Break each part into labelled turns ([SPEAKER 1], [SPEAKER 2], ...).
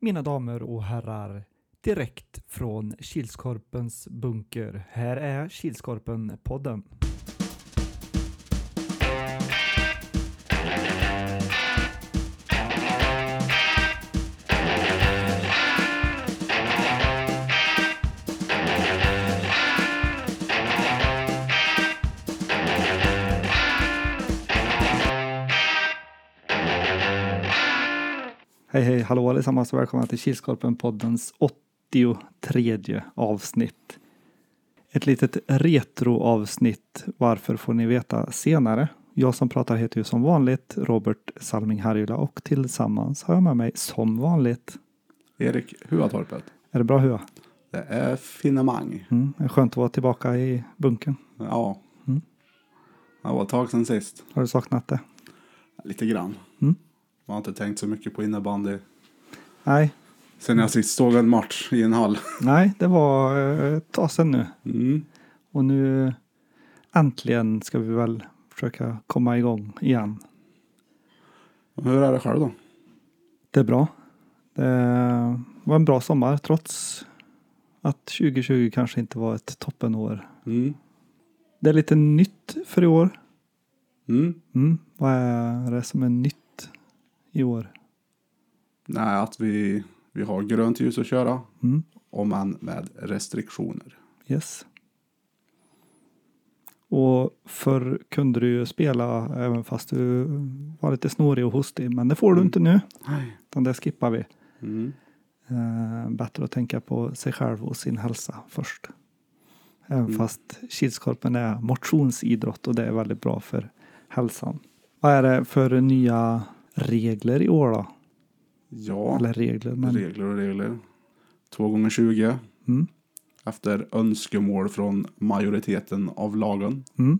[SPEAKER 1] mina damer och herrar, direkt från Kilskorpens bunker. Här är Kilskorpen-podden. Hej hej, hallå allesammans och välkomna till Kilskorpen-poddens 83 avsnitt. Ett litet retroavsnitt, varför får ni veta senare. Jag som pratar heter ju som vanligt Robert Salming Harjula och tillsammans har jag med mig som vanligt.
[SPEAKER 2] Erik Huatorpet.
[SPEAKER 1] Är det bra Hua?
[SPEAKER 2] Det är finemang.
[SPEAKER 1] Mm, det är skönt att vara tillbaka i bunkern.
[SPEAKER 2] Ja.
[SPEAKER 1] Mm.
[SPEAKER 2] Det var ett tag sedan sist.
[SPEAKER 1] Har du saknat det?
[SPEAKER 2] Lite grann.
[SPEAKER 1] Mm.
[SPEAKER 2] Man har inte tänkt så mycket på innebandy.
[SPEAKER 1] Nej,
[SPEAKER 2] Sen jag sist såg en match i en hall.
[SPEAKER 1] nej, det var eh, ett tag sedan nu.
[SPEAKER 2] Mm.
[SPEAKER 1] Och nu äntligen ska vi väl försöka komma igång igen.
[SPEAKER 2] Hur är det själv då?
[SPEAKER 1] Det är bra. Det var en bra sommar trots att 2020 kanske inte var ett toppenår.
[SPEAKER 2] Mm.
[SPEAKER 1] Det är lite nytt för i år.
[SPEAKER 2] Mm.
[SPEAKER 1] Mm. Vad är det som är nytt i år?
[SPEAKER 2] Nej, att vi, vi har grönt ljus att köra.
[SPEAKER 1] Mm.
[SPEAKER 2] Om än med restriktioner.
[SPEAKER 1] Yes. Och förr kunde du ju spela även fast du var lite snorig och hostig. Men det får du
[SPEAKER 2] Mm.
[SPEAKER 1] inte nu.
[SPEAKER 2] Nej.
[SPEAKER 1] Utan det skippar vi.
[SPEAKER 2] Mm.
[SPEAKER 1] Eh, bättre att tänka på sig själv och sin hälsa först. Även
[SPEAKER 2] Mm.
[SPEAKER 1] fast Kilskorpen är motionsidrott och det är väldigt bra för hälsan. Vad är det för nya regler i år då?
[SPEAKER 2] Ja,
[SPEAKER 1] Eller regler, men...
[SPEAKER 2] regler och regler. Två gånger 20
[SPEAKER 1] Mm,
[SPEAKER 2] efter önskemål från majoriteten av lagen.
[SPEAKER 1] mm,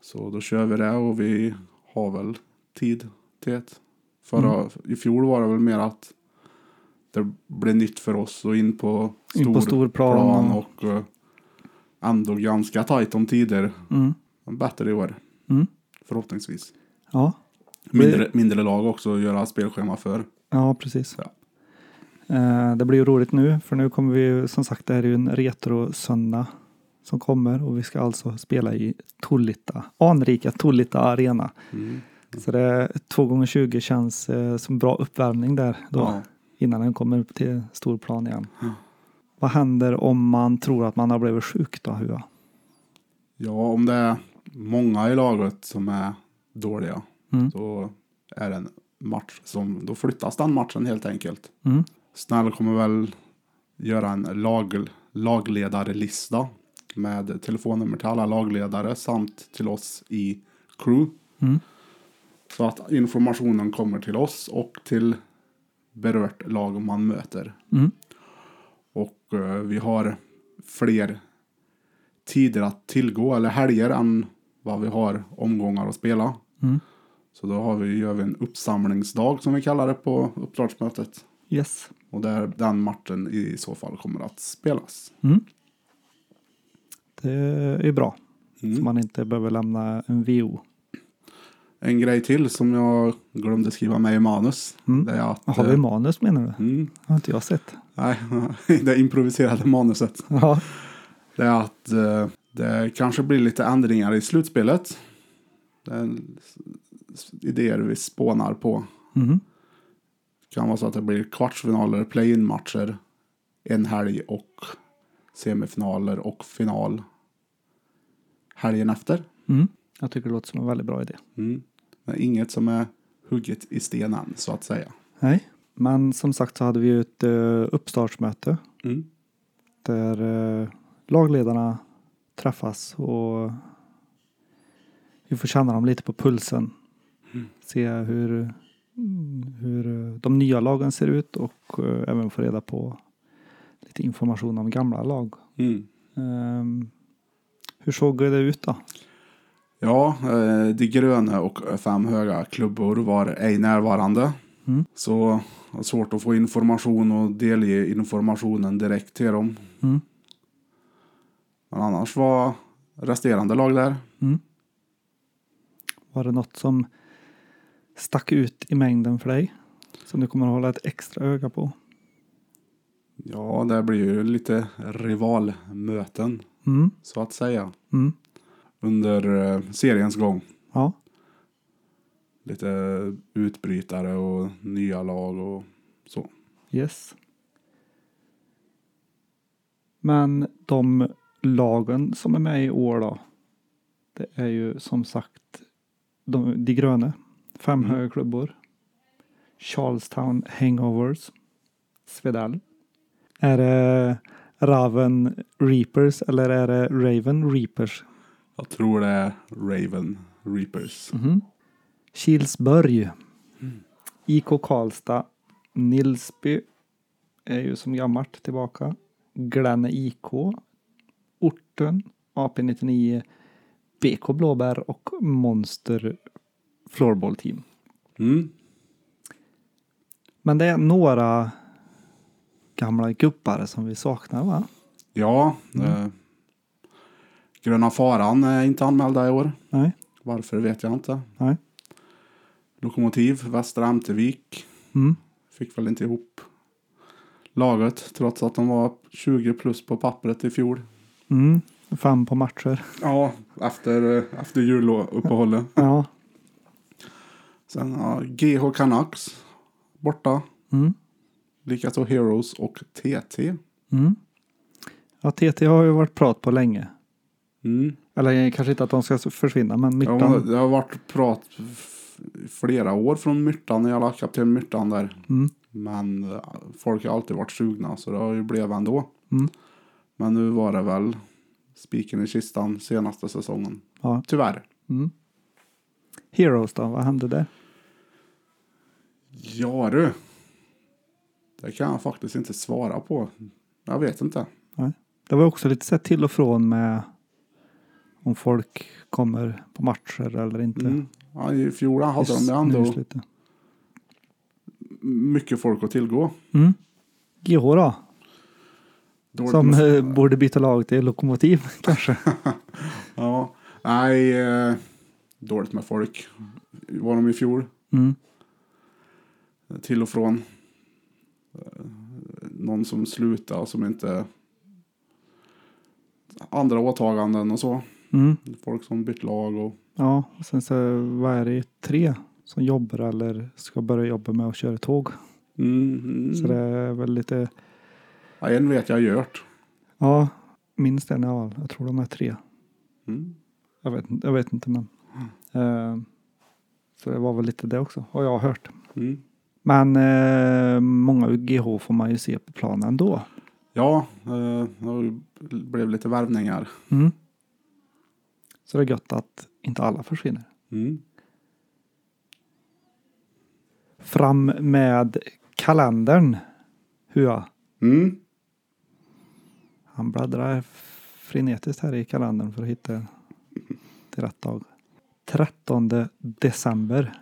[SPEAKER 2] Så då kör vi det och vi har väl tid till
[SPEAKER 1] Mm.
[SPEAKER 2] det. Förra, I fjol var det väl mer att det blev nytt för oss och in på stor,
[SPEAKER 1] in på stor plan.
[SPEAKER 2] plan
[SPEAKER 1] och-
[SPEAKER 2] och eh, ändå ganska tajt om tider.
[SPEAKER 1] Mm,
[SPEAKER 2] Men Bättre i år,
[SPEAKER 1] mm,
[SPEAKER 2] förhoppningsvis.
[SPEAKER 1] ja.
[SPEAKER 2] Mindre, mindre lag också att göra spelschema för.
[SPEAKER 1] Ja, precis.
[SPEAKER 2] Ja.
[SPEAKER 1] Eh, Det blir ju roligt nu, för nu kommer vi ju, som sagt, det här är ju en retro-söndag som kommer och vi ska alltså spela i Tolita, anrika Tolita Arena.
[SPEAKER 2] Mm.
[SPEAKER 1] Så det, 2 gånger 20 känns eh, som bra uppvärmning där då,
[SPEAKER 2] Ja.
[SPEAKER 1] innan den kommer upp till storplan igen.
[SPEAKER 2] Ja.
[SPEAKER 1] Vad händer om man tror att man har blivit sjuk då, Hua?
[SPEAKER 2] ja, om det är många i laget som är dåliga
[SPEAKER 1] Mm.
[SPEAKER 2] så är det en match som, då flyttas den matchen helt enkelt.
[SPEAKER 1] Mm.
[SPEAKER 2] Snäll kommer väl göra en lag, lagledarlista med telefonnummer till alla lagledare samt till oss i crew.
[SPEAKER 1] Mm.
[SPEAKER 2] Så att informationen kommer till oss och till berört lag man möter.
[SPEAKER 1] Mm.
[SPEAKER 2] Och eh, vi har fler tider att tillgå eller helger än vad vi har omgångar att spela.
[SPEAKER 1] Mm.
[SPEAKER 2] Så då har vi, gör vi en uppsamlingsdag som vi kallar det på uppdragsmötet.
[SPEAKER 1] Yes.
[SPEAKER 2] Och där den matchen i så fall kommer att spelas.
[SPEAKER 1] Mm. Det är bra, så
[SPEAKER 2] Mm.
[SPEAKER 1] man inte behöver lämna en VO.
[SPEAKER 2] En grej till som jag glömde skriva med i manus.
[SPEAKER 1] Mm.
[SPEAKER 2] Det är att...
[SPEAKER 1] Har vi
[SPEAKER 2] eh,
[SPEAKER 1] manus menar du?
[SPEAKER 2] mm,
[SPEAKER 1] har inte jag sett.
[SPEAKER 2] nej, det improviserade manuset.
[SPEAKER 1] Ja.
[SPEAKER 2] Det är att eh, det kanske blir lite ändringar i slutspelet. Det är s- s- idéer vi spånar på.
[SPEAKER 1] Mhm.
[SPEAKER 2] Det kan vara så att det blir kvartsfinaler, play-in matcher, en helg och semifinaler och final helgen efter.
[SPEAKER 1] Mm. Jag tycker det låter som en väldigt bra idé.
[SPEAKER 2] Mm. Men inget som är hugget i sten än, så att säga.
[SPEAKER 1] Nej. Men som sagt så hade vi ju ett eh, uppstartsmöte
[SPEAKER 2] Mm.
[SPEAKER 1] där eh, lagledarna träffas och vi får känna dem lite på pulsen.
[SPEAKER 2] Mm.
[SPEAKER 1] Se hur, hur eh, de nya lagen ser ut och eh, även få reda på lite information om gamla lag.
[SPEAKER 2] Mm.
[SPEAKER 1] Ehm, hur såg det ut då?
[SPEAKER 2] Ja, eh, de gröna och fem höga klubbor var ej närvarande.
[SPEAKER 1] Mm.
[SPEAKER 2] Så det var svårt att få information och delge informationen direkt till dem.
[SPEAKER 1] Mm.
[SPEAKER 2] Men annars var resterande lag där.
[SPEAKER 1] Var det något som stack ut i mängden för dig? Som du kommer att hålla ett extra öga på.
[SPEAKER 2] Ja, det blir ju lite rivalmöten
[SPEAKER 1] Mm,
[SPEAKER 2] så att säga
[SPEAKER 1] mm,
[SPEAKER 2] under eh, seriens gång.
[SPEAKER 1] ja.
[SPEAKER 2] Lite utbrytare och nya lag och så.
[SPEAKER 1] Yes. Men de lagen som är med i år då. Det är ju som sagt de, de gröna. Fem
[SPEAKER 2] Mm.
[SPEAKER 1] höga klubbor. Charlestown Hangovers. Svedal. Är det Raven Reapers eller är det Raven Reapers?
[SPEAKER 2] Jag tror det är Raven Reapers.
[SPEAKER 1] Mhm. Kilsberg. IK Karlstad. Nilsby är ju som gammalt tillbaka. Glänne IK. Orten. AP99. BK Blåbär och Monster Floorball Team.
[SPEAKER 2] Mm.
[SPEAKER 1] Men det är några gamla guppare som vi saknar va?
[SPEAKER 2] Ja, eh, Gröna Faran är inte anmälda i år.
[SPEAKER 1] Nej.
[SPEAKER 2] Varför vet jag inte.
[SPEAKER 1] Nej.
[SPEAKER 2] Lokomotiv, Västra Ämtervik
[SPEAKER 1] Mm.
[SPEAKER 2] fick väl inte ihop laget trots att de var 20 plus på pappret i fjol.
[SPEAKER 1] Mm. Fem på matcher.
[SPEAKER 2] Ja, efter, eh, efter juluppehållet.
[SPEAKER 1] Ja.
[SPEAKER 2] Sen ja, GH Canucks borta.
[SPEAKER 1] Mm.
[SPEAKER 2] Likaså Heroes och TT.
[SPEAKER 1] Mm. Ja, TT har ju varit prat på länge.
[SPEAKER 2] Mm.
[SPEAKER 1] Eller eh, kanske inte att de ska försvinna, men
[SPEAKER 2] Ja,
[SPEAKER 1] Myttan.
[SPEAKER 2] det har varit prat f- i flera år från Myrtan, jävla kapten Myrtan där.
[SPEAKER 1] Mm.
[SPEAKER 2] Men eh, folk har alltid varit sugna så det har ju blivit ändå.
[SPEAKER 1] Mm.
[SPEAKER 2] Men nu var det väl spiken i kistan senaste säsongen.
[SPEAKER 1] Ja.
[SPEAKER 2] Tyvärr.
[SPEAKER 1] Mm. Heroes då, vad hände där?
[SPEAKER 2] Ja du. Det kan jag faktiskt inte svara på. Jag vet inte.
[SPEAKER 1] Det var också lite sett till och från med om folk kommer på matcher eller inte.
[SPEAKER 2] Mm. Ja, I fjol hade de
[SPEAKER 1] Just
[SPEAKER 2] ju
[SPEAKER 1] nu i
[SPEAKER 2] ändå
[SPEAKER 1] slutet.
[SPEAKER 2] mycket folk att tillgå.
[SPEAKER 1] Mm. GH då,
[SPEAKER 2] Dåligt
[SPEAKER 1] som
[SPEAKER 2] med-
[SPEAKER 1] eh, borde byta lag till Lokomotiv kanske.
[SPEAKER 2] Ja, nej. eh, Dåligt med folk var de i fjol.
[SPEAKER 1] Mm.
[SPEAKER 2] Till och från. Eh, Någon som slutade och som inte... Andra åtaganden och så.
[SPEAKER 1] Mm.
[SPEAKER 2] Folk som bytt lag och...
[SPEAKER 1] Ja, och sen så vad är det tre som jobbar eller ska börja jobba med att köra tåg.
[SPEAKER 2] Mm, mm.
[SPEAKER 1] Så det är väl lite,
[SPEAKER 2] Ja, en vet jag gjort.
[SPEAKER 1] ja, minst en i alla fall. Jag tror de är tre.
[SPEAKER 2] Mm.
[SPEAKER 1] Jag vet, inte- jag vet inte men. Eh, så det var väl lite det också, har jag hört.
[SPEAKER 2] Mm.
[SPEAKER 1] Men eh, många UGH får man ju se på planen då.
[SPEAKER 2] Ja, eh, det blev lite värvningar.
[SPEAKER 1] Mm. Så det är gött att inte alla försvinner.
[SPEAKER 2] Mm.
[SPEAKER 1] Fram med kalendern. Hua.
[SPEAKER 2] Mm.
[SPEAKER 1] Han bläddrar frenetiskt här i kalendern för att hitta till rätt dag. 13 december.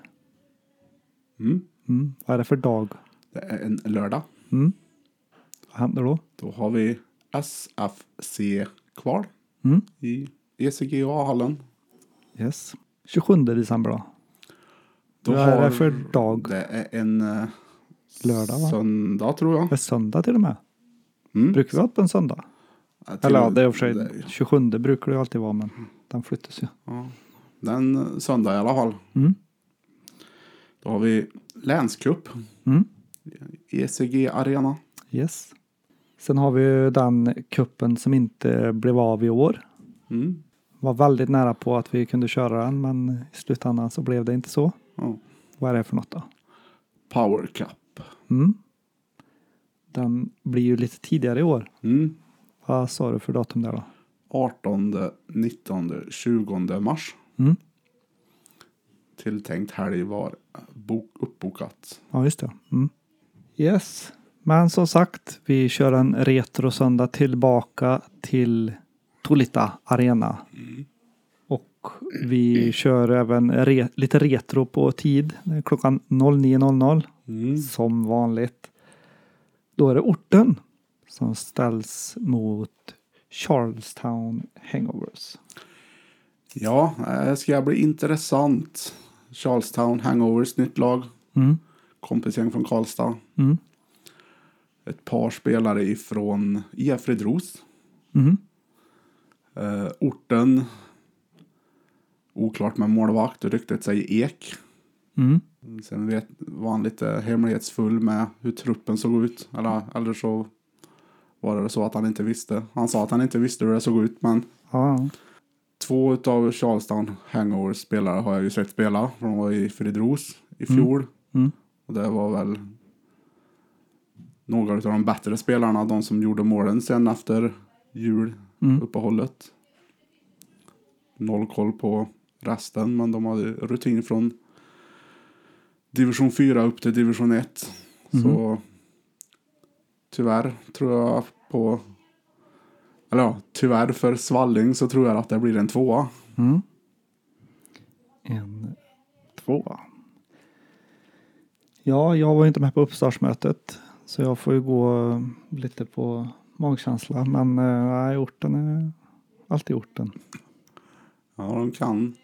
[SPEAKER 2] Mm.
[SPEAKER 1] Mm. Vad är det för dag?
[SPEAKER 2] Det är en lördag.
[SPEAKER 1] Mm. Vad händer då?
[SPEAKER 2] Då har vi SFC-kval
[SPEAKER 1] Mm.
[SPEAKER 2] i E ECGA-hallen.
[SPEAKER 1] Yes. 27 december då.
[SPEAKER 2] Då
[SPEAKER 1] Vad är
[SPEAKER 2] har-
[SPEAKER 1] det för dag?
[SPEAKER 2] Det är en eh,
[SPEAKER 1] Lördag, va?
[SPEAKER 2] söndag tror jag.
[SPEAKER 1] Det är söndag till och med.
[SPEAKER 2] Mm.
[SPEAKER 1] Brukar vi ha det på en söndag?
[SPEAKER 2] Ja, till-
[SPEAKER 1] Eller ja, det är i och för sig
[SPEAKER 2] det-
[SPEAKER 1] 27 brukar det ju alltid vara, men den flyttas ju.
[SPEAKER 2] ja. Den eh, söndag i alla fall.
[SPEAKER 1] Mm.
[SPEAKER 2] Då har vi länscup,
[SPEAKER 1] Mm.
[SPEAKER 2] ECG Arena.
[SPEAKER 1] Yes. Sen har vi ju den kuppen som inte blev av i år.
[SPEAKER 2] Mm.
[SPEAKER 1] Var väldigt nära på att vi kunde köra den, men i slutändan så blev det inte så.
[SPEAKER 2] Ja.
[SPEAKER 1] Vad är det för något då?
[SPEAKER 2] Power Cup.
[SPEAKER 1] Mm. Den blir ju lite tidigare i år.
[SPEAKER 2] Mm.
[SPEAKER 1] Vad sa du för datum där då?
[SPEAKER 2] 18, 19, 20 mars.
[SPEAKER 1] Mm.
[SPEAKER 2] Tilltänkt helg var bok, uppbokat.
[SPEAKER 1] Ja, just det. Mm. Yes. Men som sagt, vi kör en retrosöndag tillbaka till Tolita Arena. Och vi kör även re- lite retro på tid. Det är Klockan 09.00
[SPEAKER 2] Mm.
[SPEAKER 1] som vanligt. Då är det orten som ställs mot Charlestown Hangovers.
[SPEAKER 2] eh, Ja, det ska bli intressant. Charlestown Hangovers nytt lag.
[SPEAKER 1] Mm.
[SPEAKER 2] kompisgäng från Karlstad.
[SPEAKER 1] Mm.
[SPEAKER 2] Ett par spelare ifrån E Efredros.
[SPEAKER 1] Mhm.
[SPEAKER 2] Eh, orten, oklart med målvakt, ryktet sig ek.
[SPEAKER 1] Mm.
[SPEAKER 2] Sen vet, var han lite hemlighetsfull med hur truppen såg ut. Eller, eller så var det så att han inte visste. Han sa att han inte visste hur det såg ut, men
[SPEAKER 1] Ja.
[SPEAKER 2] Två av Charlestown Hangovers spelare har jag ju sett spela. För de var i Fredros i fjol.
[SPEAKER 1] Mm.
[SPEAKER 2] Och det var väl Mm. några av de bättre spelarna. De som gjorde målen sen efter
[SPEAKER 1] Mm.
[SPEAKER 2] juluppehållet. Noll koll på resten. Men de hade ju rutin från division 4 upp till division 1. Så tyvärr tror jag på... Eller ja, tyvärr för Svalling så tror jag att det blir en tvåa.
[SPEAKER 1] Mm. En tvåa. Ja, jag var ju inte med på uppstartsmötet. Så jag får ju gå eh, lite på magkänsla. Men eh, nej, orten är alltid orten.
[SPEAKER 2] Ja, de kan.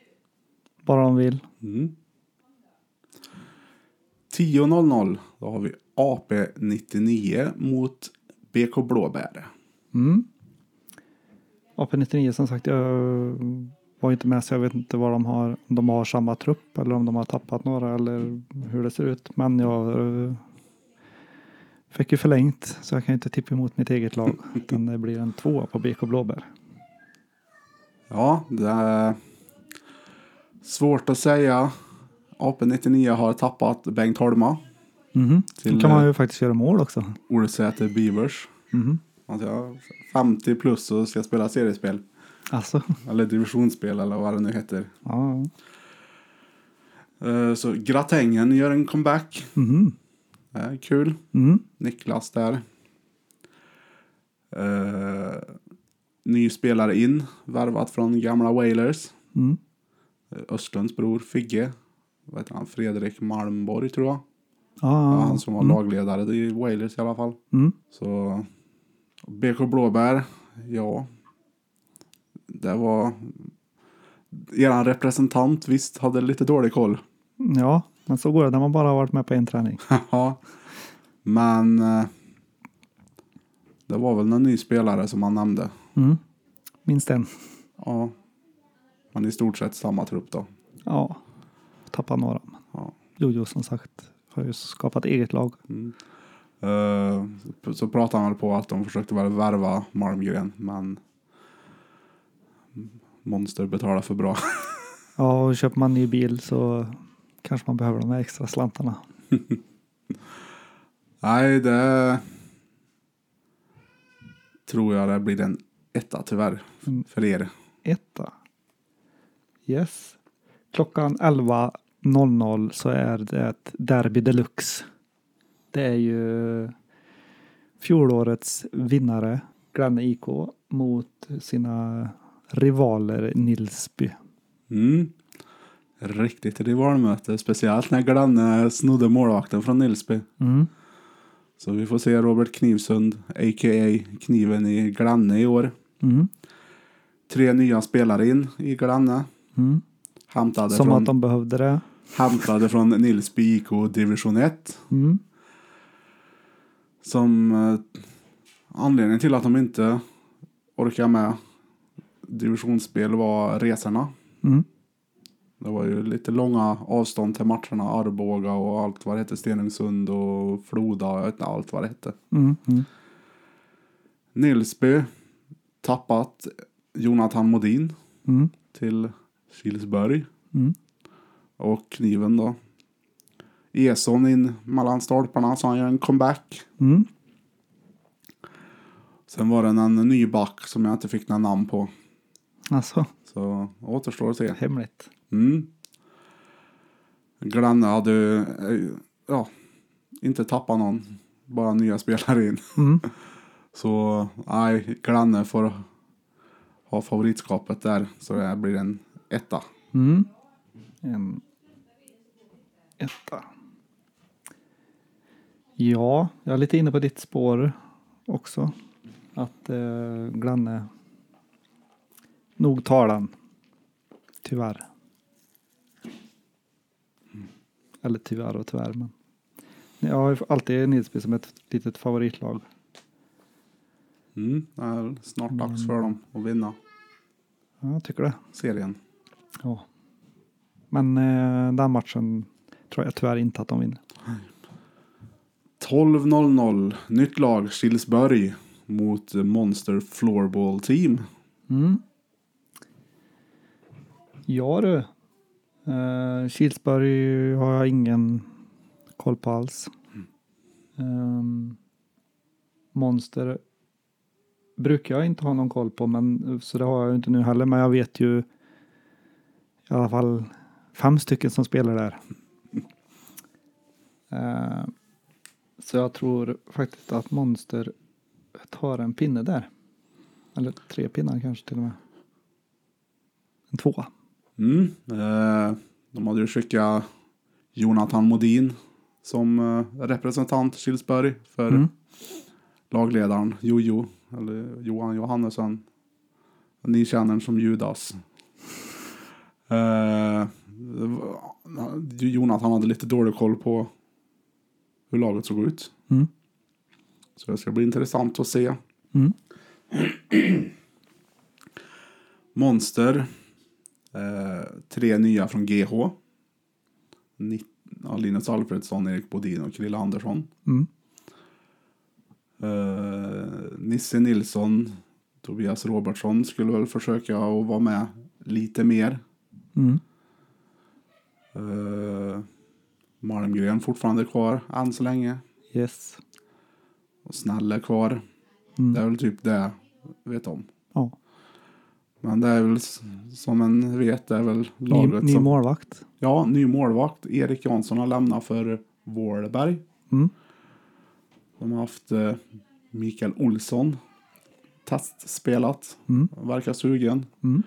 [SPEAKER 1] Bara de vill.
[SPEAKER 2] Mm. 10.00, då har vi AP99 mot BK Blåbär.
[SPEAKER 1] Mm. AP99 som sagt, jag eh, var inte med så jag vet inte vad de har. Om de har samma trupp eller om de har tappat några eller hur det ser ut. Men jag eh, fick ju förlängt så jag kan ju inte tippa emot mitt eget lag. utan det blir en tvåa på BK Blåbär.
[SPEAKER 2] Ja, det är svårt att säga. AP99 har tappat Bengt Holma
[SPEAKER 1] Mhm.
[SPEAKER 2] Till, eh,
[SPEAKER 1] Då kan man ju faktiskt göra mål också.
[SPEAKER 2] Olsäter Beavers.
[SPEAKER 1] Mhm.
[SPEAKER 2] Alltså, ja, 50 plus och ska spela seriespel.
[SPEAKER 1] Alltså,
[SPEAKER 2] Eller divisionsspel eller vad det nu heter.
[SPEAKER 1] ja.
[SPEAKER 2] Eh, Så Gratängen gör en comeback.
[SPEAKER 1] Mhm.
[SPEAKER 2] Det är kul.
[SPEAKER 1] Mm.
[SPEAKER 2] Niklas där. Eh, ny spelare in. Värvat från gamla Wailers.
[SPEAKER 1] Mm.
[SPEAKER 2] Eh, Östlunds bror Figge. Vad heter han? Fredrik Malmborg tror jag. Ja,
[SPEAKER 1] Ja.
[SPEAKER 2] han som var lagledare i Wailers i alla fall.
[SPEAKER 1] Mm.
[SPEAKER 2] Så BK Blåbär, ja. Det var... Eran representant visst hade lite dålig koll.
[SPEAKER 1] ja, men så går det när man bara har varit med på en träning.
[SPEAKER 2] Haha. Men eh, det var väl någon ny spelare som han nämnde.
[SPEAKER 1] Mm. Minst en.
[SPEAKER 2] Ja. Men i stort sett samma trupp då.
[SPEAKER 1] Ja, tappa några. men-
[SPEAKER 2] Ja.
[SPEAKER 1] Jojo som sagt har ju skapat eget lag.
[SPEAKER 2] Eh, så pratade han väl på att de försökte väl värva Malmgren men Monster betalar för bra.
[SPEAKER 1] Ja, och köper man ny bil så kanske man behöver de här extra slantarna.
[SPEAKER 2] Nej, det tror jag det blir en etta tyvärr
[SPEAKER 1] Mm.
[SPEAKER 2] för er.
[SPEAKER 1] Etta. Yes. Klockan 11.00 så är det ett Derby Deluxe. Det är ju fjolårets vinnare Glenn IK mot sina rivaler Nilsby.
[SPEAKER 2] Mm. Riktigt rivalmöte, speciellt när Glenn eh, snodde målvakten från Nilsby.
[SPEAKER 1] Mm.
[SPEAKER 2] Så vi får se Robert Knivsund, a.k.a. Kniven i Glanne i år.
[SPEAKER 1] Mm.
[SPEAKER 2] Tre nya spelare in i Glanne.
[SPEAKER 1] Mm.
[SPEAKER 2] Hämtade,
[SPEAKER 1] Som
[SPEAKER 2] från,
[SPEAKER 1] att de behövde det.
[SPEAKER 2] hämtade från Nilsby IK division 1.
[SPEAKER 1] Mm.
[SPEAKER 2] Som eh, anledningen till att de inte orkar med divisionsspel var resorna.
[SPEAKER 1] Mm.
[SPEAKER 2] Det var ju lite långa avstånd till matcherna. Arboga och allt vad det hette. Stenungsund och Floda och jag vet inte allt vad det hette.
[SPEAKER 1] Mm. Mm.
[SPEAKER 2] Nilsby tappat Jonathan Modin
[SPEAKER 1] Mm.
[SPEAKER 2] till Kilsberg.
[SPEAKER 1] Mm.
[SPEAKER 2] Och kniven då. Eson in mellan stolparna så han gör en comeback.
[SPEAKER 1] Mm.
[SPEAKER 2] Sen var det en ny back som jag inte fick några namn på.
[SPEAKER 1] Alltså,
[SPEAKER 2] Så återstår att se.
[SPEAKER 1] hemligt.
[SPEAKER 2] Mm. Glenn hade eh, ja, inte tappat någon. Bara nya spelare in.
[SPEAKER 1] Mm.
[SPEAKER 2] Så nej, Glenn får ha favoritskapet där. Så det här blir en etta.
[SPEAKER 1] Mm. En etta. Ja, jag är lite inne på ditt spår också. Att eh, Glanne nog tar den. Tyvärr. Eller tyvärr och tyvärr, men Jag har ju alltid Nidsby som ett litet favoritlag.
[SPEAKER 2] Mm, det är snart dags för dem att vinna
[SPEAKER 1] Ja, jag tycker det.
[SPEAKER 2] serien.
[SPEAKER 1] Ja. Men eh, den matchen tror jag tyvärr inte att de vinner.
[SPEAKER 2] 12.00, nytt lag, Kilsberg mot Monster Floorball Team.
[SPEAKER 1] Mm. Ja du. Eh, Kilsberg har jag ingen koll på alls. Ehm, monster brukar jag inte ha någon koll på, men, så det har jag ju inte nu heller. Men jag vet ju i alla fall fem stycken som spelar där. Ehm, så jag tror faktiskt att Monster tar en pinne där. Eller tre pinnar kanske till och med. En tvåa.
[SPEAKER 2] Mm. Eh, de hade ju skickat Jonathan Modin som eh, representant Kilsberg för
[SPEAKER 1] Mm.
[SPEAKER 2] lagledaren Jojo, eller Johan Johannesson. Ni känner honom som Judas. Eh, det var- Jonathan hade lite dålig koll på hur laget såg ut.
[SPEAKER 1] Mm.
[SPEAKER 2] Så det ska bli intressant att se.
[SPEAKER 1] Mm.
[SPEAKER 2] Monster. Eh, tre nya från GH. Ni- ja, Linus Alfredsson, Erik Bodin och Krille Andersson.
[SPEAKER 1] Mm.
[SPEAKER 2] Eh, Nisse Nilsson, Tobias Robertsson skulle väl försöka att vara med lite mer.
[SPEAKER 1] Mm.
[SPEAKER 2] Eh, Malmgren fortfarande kvar än så länge.
[SPEAKER 1] Yes.
[SPEAKER 2] Och Snäll är kvar.
[SPEAKER 1] Mm.
[SPEAKER 2] Det är väl typ det jag vet om.
[SPEAKER 1] Ja.
[SPEAKER 2] Men det är väl s- som en vet, det är väl
[SPEAKER 1] Ny,
[SPEAKER 2] laget
[SPEAKER 1] ny
[SPEAKER 2] som...
[SPEAKER 1] målvakt.
[SPEAKER 2] Ja, ny målvakt. Erik Jansson har lämnat för Vårberg.
[SPEAKER 1] Mm.
[SPEAKER 2] De har haft eh, Mikael Olsson. Testspelat.
[SPEAKER 1] Mm.
[SPEAKER 2] Verkar sugen.
[SPEAKER 1] Mm.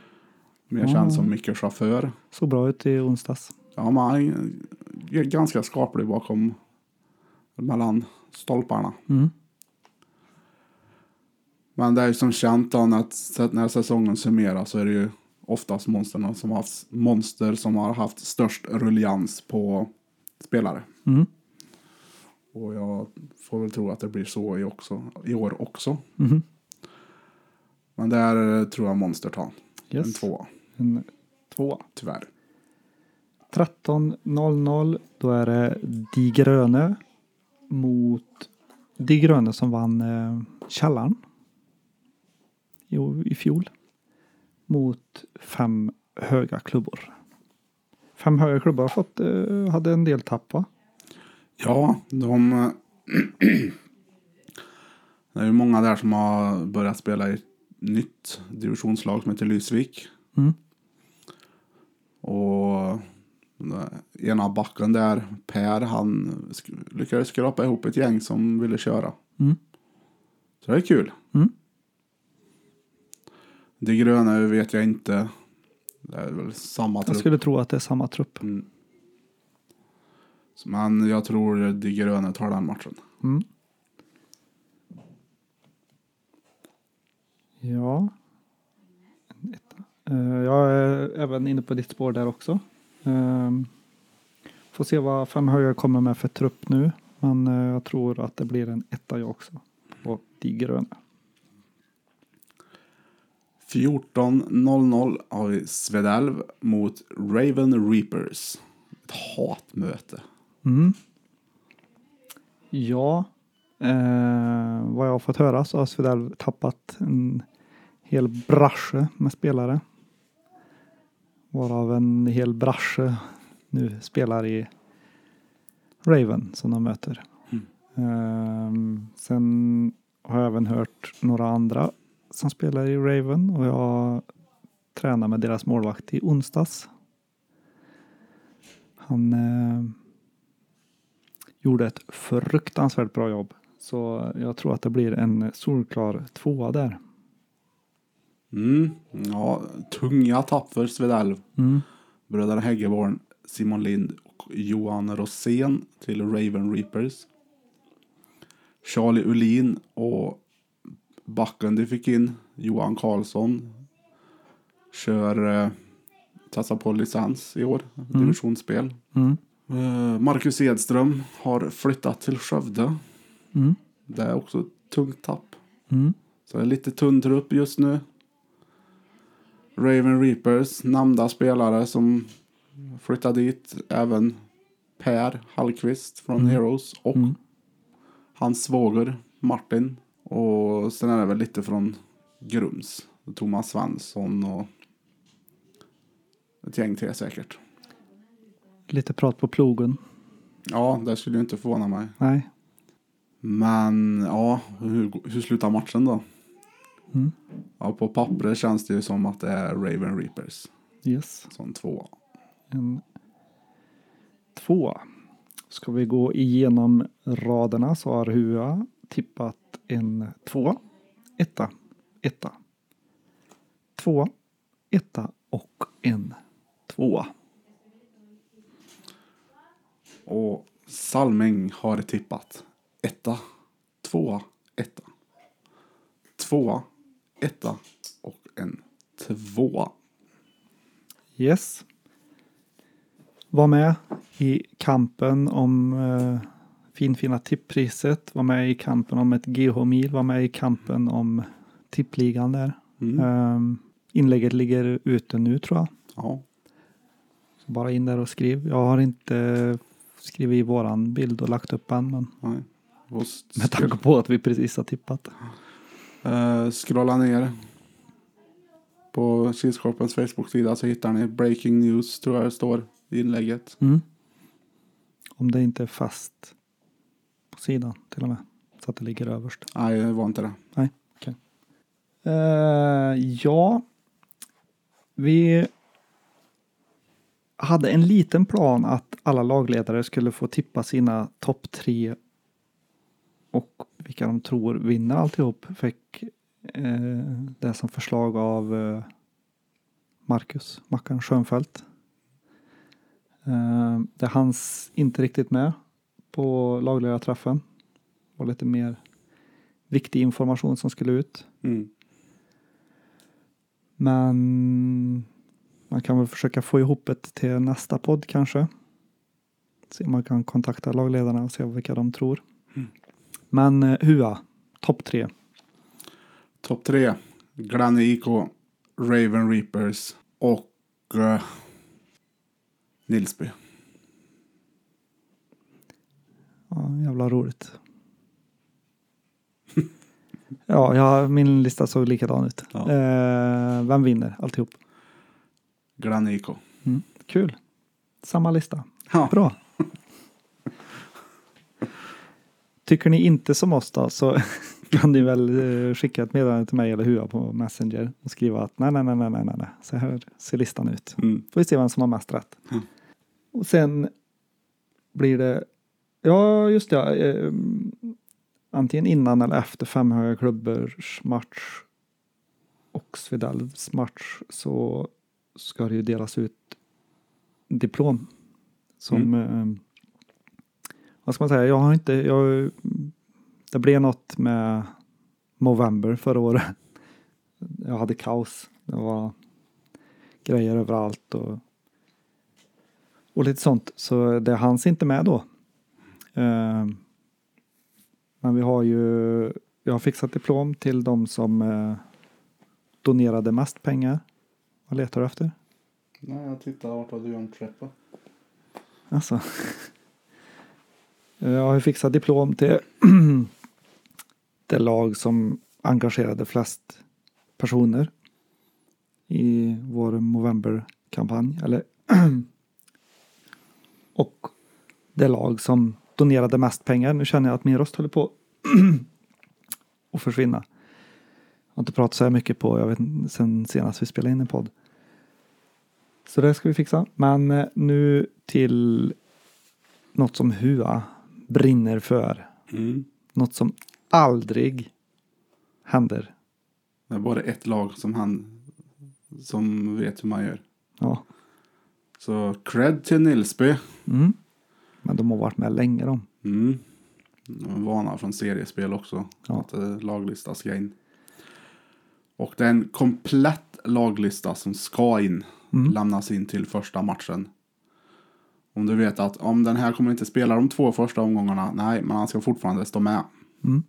[SPEAKER 2] Mer känd som mycket chaufför.
[SPEAKER 1] Såg bra ut i onsdags.
[SPEAKER 2] Ja, men han är ganska skaplig bakom mellan stolparna.
[SPEAKER 1] Mm.
[SPEAKER 2] Men det är ju som känt då, när- så att när säsongen summeras så är det ju oftast monsterna som har haft, monster som har haft störst rullians på spelare.
[SPEAKER 1] Mm.
[SPEAKER 2] Och jag får väl tro att det blir så i, också, i år också.
[SPEAKER 1] Mhm.
[SPEAKER 2] Men där eh, tror jag monster tar
[SPEAKER 1] Yes.
[SPEAKER 2] en tvåa,
[SPEAKER 1] En tvåa.
[SPEAKER 2] tyvärr.
[SPEAKER 1] 13.00. Då är det De Gröne mot De Gröne som vann eh, Källaren i, i fjol. Mot fem höga klubbor. Fem höga klubbor har fått, eh, hade en del tapp va?
[SPEAKER 2] Ja, de... eh, det är ju många där som har börjat spela i ett nytt divisionslag som heter Lysvik.
[SPEAKER 1] Mm.
[SPEAKER 2] Och den ena backen där, Per, han sk- lyckades skrapa ihop ett gäng som ville köra.
[SPEAKER 1] Mm.
[SPEAKER 2] Så det är kul.
[SPEAKER 1] Mm.
[SPEAKER 2] Det gröna vet jag inte. Det är väl samma
[SPEAKER 1] Jag
[SPEAKER 2] trupp.
[SPEAKER 1] skulle tro att det är samma trupp.
[SPEAKER 2] Mm. Men jag tror det gröna tar den matchen.
[SPEAKER 1] Mm. Ja. En etta. Eh, Jag är även inne på ditt spår där också. Ehm, Får se vad Fem Höjer kommer med för trupp nu. Men eh, jag tror att det blir en etta jag också. På de gröna.
[SPEAKER 2] 14.00 har vi Svedalv mot Raven Reapers. Ett hatmöte.
[SPEAKER 1] Mm. Ja. Eh, vad jag har fått höra så har Svedell tappat en hel brasche med spelare. Varav en hel brasche nu spelar i Raven som de möter. Ehm, sen har jag även hört några andra som spelar i Raven och jag tränade med deras målvakt i onsdags. Han eh, gjorde ett fruktansvärt bra jobb. Så jag tror att det blir en solklar tvåa där.
[SPEAKER 2] Mm. Ja, tunga tapp för Svedalv.
[SPEAKER 1] Mm.
[SPEAKER 2] Bröderna Häggeborn, Simon Lind och Johan Rosén till Raven Reapers. Charlie Ulin och backen de fick in, Johan Karlsson, kör eh, tassar på licens i år, divisionsspel.
[SPEAKER 1] Mm.
[SPEAKER 2] Eh, Marcus Edström har flyttat till Skövde.
[SPEAKER 1] Mm.
[SPEAKER 2] Det är också ett tungt tapp.
[SPEAKER 1] Mm.
[SPEAKER 2] Så det är lite tunn trupp just nu. Raven Reapers, namnda spelare som flyttar dit. Även Per Hallqvist från
[SPEAKER 1] Mm.
[SPEAKER 2] Heroes och
[SPEAKER 1] Mm.
[SPEAKER 2] hans svåger Martin. Och sen är det väl lite från Grums. Thomas Svensson och ett gäng till säkert.
[SPEAKER 1] Lite prat på plogen.
[SPEAKER 2] Ja, det skulle ju inte förvåna mig.
[SPEAKER 1] Nej.
[SPEAKER 2] Men ja, hur, hur slutar matchen då?
[SPEAKER 1] Mm.
[SPEAKER 2] Ja, på pappret känns det ju som att det är Raven Reapers
[SPEAKER 1] Yes.
[SPEAKER 2] som två.
[SPEAKER 1] En två. Ska vi gå igenom raderna så har Hua tippat en tvåa, etta, etta, tvåa, etta och en tvåa.
[SPEAKER 2] Och Salming har tippat etta, tvåa, etta. Tvåa, etta och en tvåa.
[SPEAKER 1] Yes. Var med i kampen om eh, finfina tipppriset. Var med i kampen om ett GH-mil. Var med i kampen om tippligan där.
[SPEAKER 2] Mm.
[SPEAKER 1] Ehm, inlägget ligger ute nu tror jag.
[SPEAKER 2] Ja.
[SPEAKER 1] Så bara in där och skriv. Jag har inte skrivit i våran bild och lagt upp än. Men
[SPEAKER 2] Nej. Och s-
[SPEAKER 1] med
[SPEAKER 2] skro-
[SPEAKER 1] tanke på att vi precis har tippat.
[SPEAKER 2] eh, scrolla ner. På Kilskorpens Facebook-sida så hittar ni Breaking News, tror jag det står i inlägget.
[SPEAKER 1] Mm. Om det inte är fast på sidan till och med. Så att det ligger överst.
[SPEAKER 2] Nej, det var inte det.
[SPEAKER 1] Eh, ja, vi hade en liten plan att alla lagledare skulle få tippa sina topp tre och vilka de tror vinner alltihop. Fick eh, det som förslag av eh, Marcus Mackan Schönfeldt. Eh, det hans inte riktigt med på lagledarträffen. Det var lite mer viktig information som skulle ut.
[SPEAKER 2] Mm.
[SPEAKER 1] Men man kan väl försöka få ihop ett till nästa podd kanske. Se om man kan kontakta lagledarna och se vilka de tror.
[SPEAKER 2] Mm.
[SPEAKER 1] Men eh, Hua, topp tre.
[SPEAKER 2] Topp tre. Glenn IK, Raven Reapers och eh, Nilsby.
[SPEAKER 1] Ja, jävla roligt. ja, jag, min lista såg likadan ut.
[SPEAKER 2] Ja.
[SPEAKER 1] Eh, vem vinner alltihop? Mm.
[SPEAKER 2] Glenn E IK.
[SPEAKER 1] Kul. Samma lista.
[SPEAKER 2] Ja.
[SPEAKER 1] Bra. Tycker ni inte som oss då så kan ni väl eh, skicka ett meddelande till mig eller Hua på Messenger och skriva att nej, nej, nej, nej, nej, nej, nej. så här ser listan ut.
[SPEAKER 2] Mm.
[SPEAKER 1] Får vi se vem som har mest rätt.
[SPEAKER 2] Mm.
[SPEAKER 1] Och sen blir det, ja just det, ja, eh, antingen innan eller efter Femhöga klubbors match och Svedalvs match så ska det ju delas ut diplom. Som, eh, vad ska man säga, jag har inte, jag, det blev något med Movember förra året. Jag hade kaos. Det var grejer överallt och, och lite sånt. Så det hanns inte med då. Eh, men vi har ju, jag har fixat diplom till de som eh, donerade mest pengar. Vad letar du efter?
[SPEAKER 2] Nej, jag tittar vart du gör en trappa.
[SPEAKER 1] Alltså. Eh, Jag har ju fixat diplom till det lag som engagerade flest personer i vår Movember-kampanj. Eller och det lag som donerade mest pengar. Nu känner jag att min röst håller på att försvinna. Jag har inte pratat så här mycket på, jag vet inte, sen senast vi spelade in en podd. Så det ska vi fixa. Men eh, nu till något som Hua brinner för.
[SPEAKER 2] Mm.
[SPEAKER 1] Något som aldrig händer.
[SPEAKER 2] Det är bara ett lag som han som vet hur man gör.
[SPEAKER 1] Ja.
[SPEAKER 2] Så cred till Nilsby.
[SPEAKER 1] Mm. Men de har varit med länge de.
[SPEAKER 2] Mm. De är Vana från seriespel också.
[SPEAKER 1] Ja.
[SPEAKER 2] Att eh, laglista ska in. Och det är en komplett laglista som ska in.
[SPEAKER 1] Mm.
[SPEAKER 2] Lämnas in till första matchen. Om du vet att om den här kommer inte spela de två första omgångarna, nej, men han ska fortfarande stå med.
[SPEAKER 1] Mm.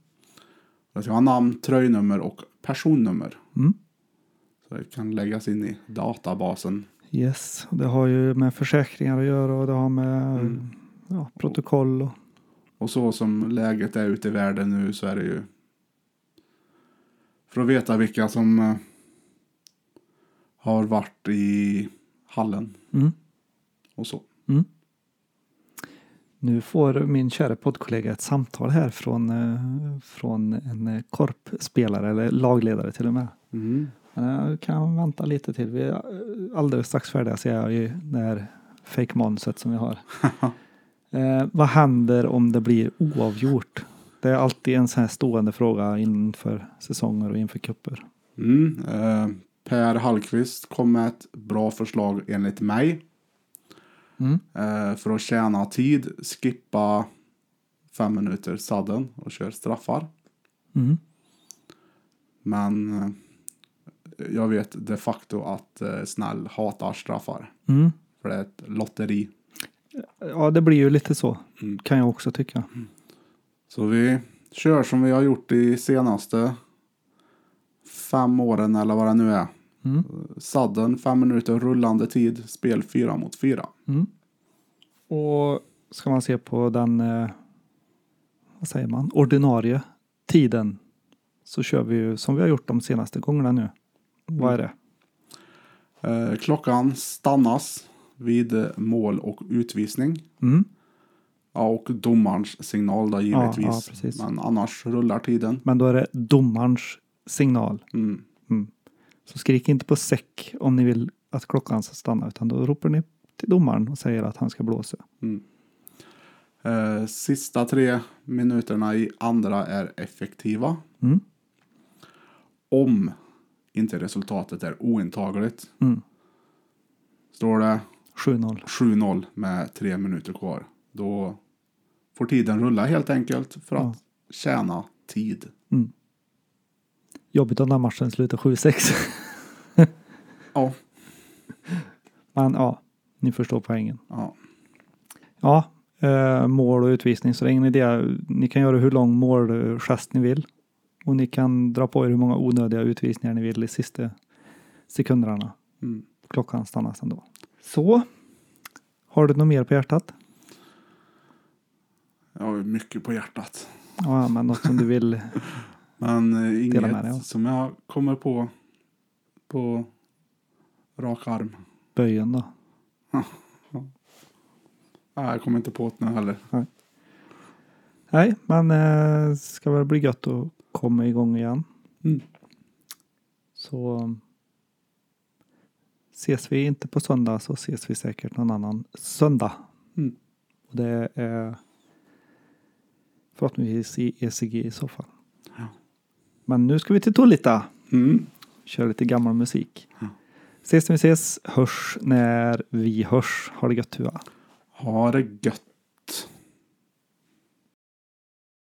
[SPEAKER 2] Den ska ha namn, tröjnummer och personnummer.
[SPEAKER 1] Mm.
[SPEAKER 2] Så det kan läggas in i databasen.
[SPEAKER 1] Yes, och det har ju med försäkringar att göra och det har med
[SPEAKER 2] Mm.
[SPEAKER 1] ja, protokoll och
[SPEAKER 2] Och så som läget är ute i världen nu så är det ju för att veta vilka som eh, har varit i hallen
[SPEAKER 1] mm.
[SPEAKER 2] och så.
[SPEAKER 1] Nu får min kära poddkollega ett samtal här från, eh, från en eh, korpspelare eller lagledare till och med. Men jag kan vänta lite till. Vi är eh, alldeles strax färdiga ser jag i det här fake-manuset som vi har. eh, vad händer om det blir oavgjort? Det är alltid en sån här stående fråga inför säsonger och inför kupper.
[SPEAKER 2] Mm. Eh, per Hallqvist kom med ett bra förslag enligt mig.
[SPEAKER 1] Mm.
[SPEAKER 2] Eh, för att tjäna tid, skippa fem minuter sadden och kör straffar.
[SPEAKER 1] Mm.
[SPEAKER 2] Men eh, jag vet de facto att eh, Snäll hatar straffar.
[SPEAKER 1] Mm.
[SPEAKER 2] För det är ett lotteri.
[SPEAKER 1] Ja, det blir ju lite så
[SPEAKER 2] Mm.
[SPEAKER 1] kan jag också tycka.
[SPEAKER 2] Så vi kör som vi har gjort de senaste fem åren eller vad det nu är.
[SPEAKER 1] Mm.
[SPEAKER 2] Sadden, fem minuter rullande tid, spel fyra mot fyra.
[SPEAKER 1] Mm. Och ska man se på den, eh, vad säger man, ordinarie tiden så kör vi ju som vi har gjort de senaste gångerna nu. Vad är det?
[SPEAKER 2] Eh, klockan stannas vid eh, mål och utvisning.
[SPEAKER 1] Mm.
[SPEAKER 2] Ja, och domarens signal då givetvis.
[SPEAKER 1] ja, precis.
[SPEAKER 2] Men annars rullar tiden.
[SPEAKER 1] Men då är det domarens signal.
[SPEAKER 2] Mm.
[SPEAKER 1] Så skrik inte på säck om ni vill att klockan ska stanna utan då ropar ni till domaren och säger att han ska blåsa.
[SPEAKER 2] Eh, sista tre minuterna i andra är effektiva.
[SPEAKER 1] Mm.
[SPEAKER 2] Om inte resultatet är ointagligt.
[SPEAKER 1] Mm.
[SPEAKER 2] Står det
[SPEAKER 1] 7-0.
[SPEAKER 2] 7-0 med tre minuter kvar. Då får tiden rulla helt enkelt för att
[SPEAKER 1] Ja.
[SPEAKER 2] tjäna tid.
[SPEAKER 1] Jobbigt om den matchen slutar 7-6.
[SPEAKER 2] Ja.
[SPEAKER 1] Men ja, ni förstår poängen.
[SPEAKER 2] ja.
[SPEAKER 1] Ja, eh, mål och utvisning. Så det är ingen idé. Ni kan göra hur lång målgest ni vill. Och ni kan dra på er hur många onödiga utvisningar ni vill i sista sekunderna.
[SPEAKER 2] Mm.
[SPEAKER 1] Klockan stannas ändå. Så. Har du något mer på hjärtat?
[SPEAKER 2] Jag har ju mycket på hjärtat.
[SPEAKER 1] Ja, men något som du vill.
[SPEAKER 2] Men eh, inget
[SPEAKER 1] Dela med dig av.
[SPEAKER 2] som jag kommer på på rak arm.
[SPEAKER 1] Böjen då?
[SPEAKER 2] Nej, jag kommer inte på det nu heller.
[SPEAKER 1] Nej, men eh, ska väl bli gött att komma igång igen.
[SPEAKER 2] Mm.
[SPEAKER 1] Så um, ses vi inte på söndag så ses vi säkert någon annan söndag.
[SPEAKER 2] Mm.
[SPEAKER 1] Och det är förhoppningsvis i ECG i så fall.
[SPEAKER 2] Ja.
[SPEAKER 1] Men nu ska vi till Tolita.
[SPEAKER 2] Mm.
[SPEAKER 1] Kör lite gammal musik.
[SPEAKER 2] Ja.
[SPEAKER 1] Ses när vi ses. Hörs när vi hörs. Ha det gött Tua.
[SPEAKER 2] Ha det gött.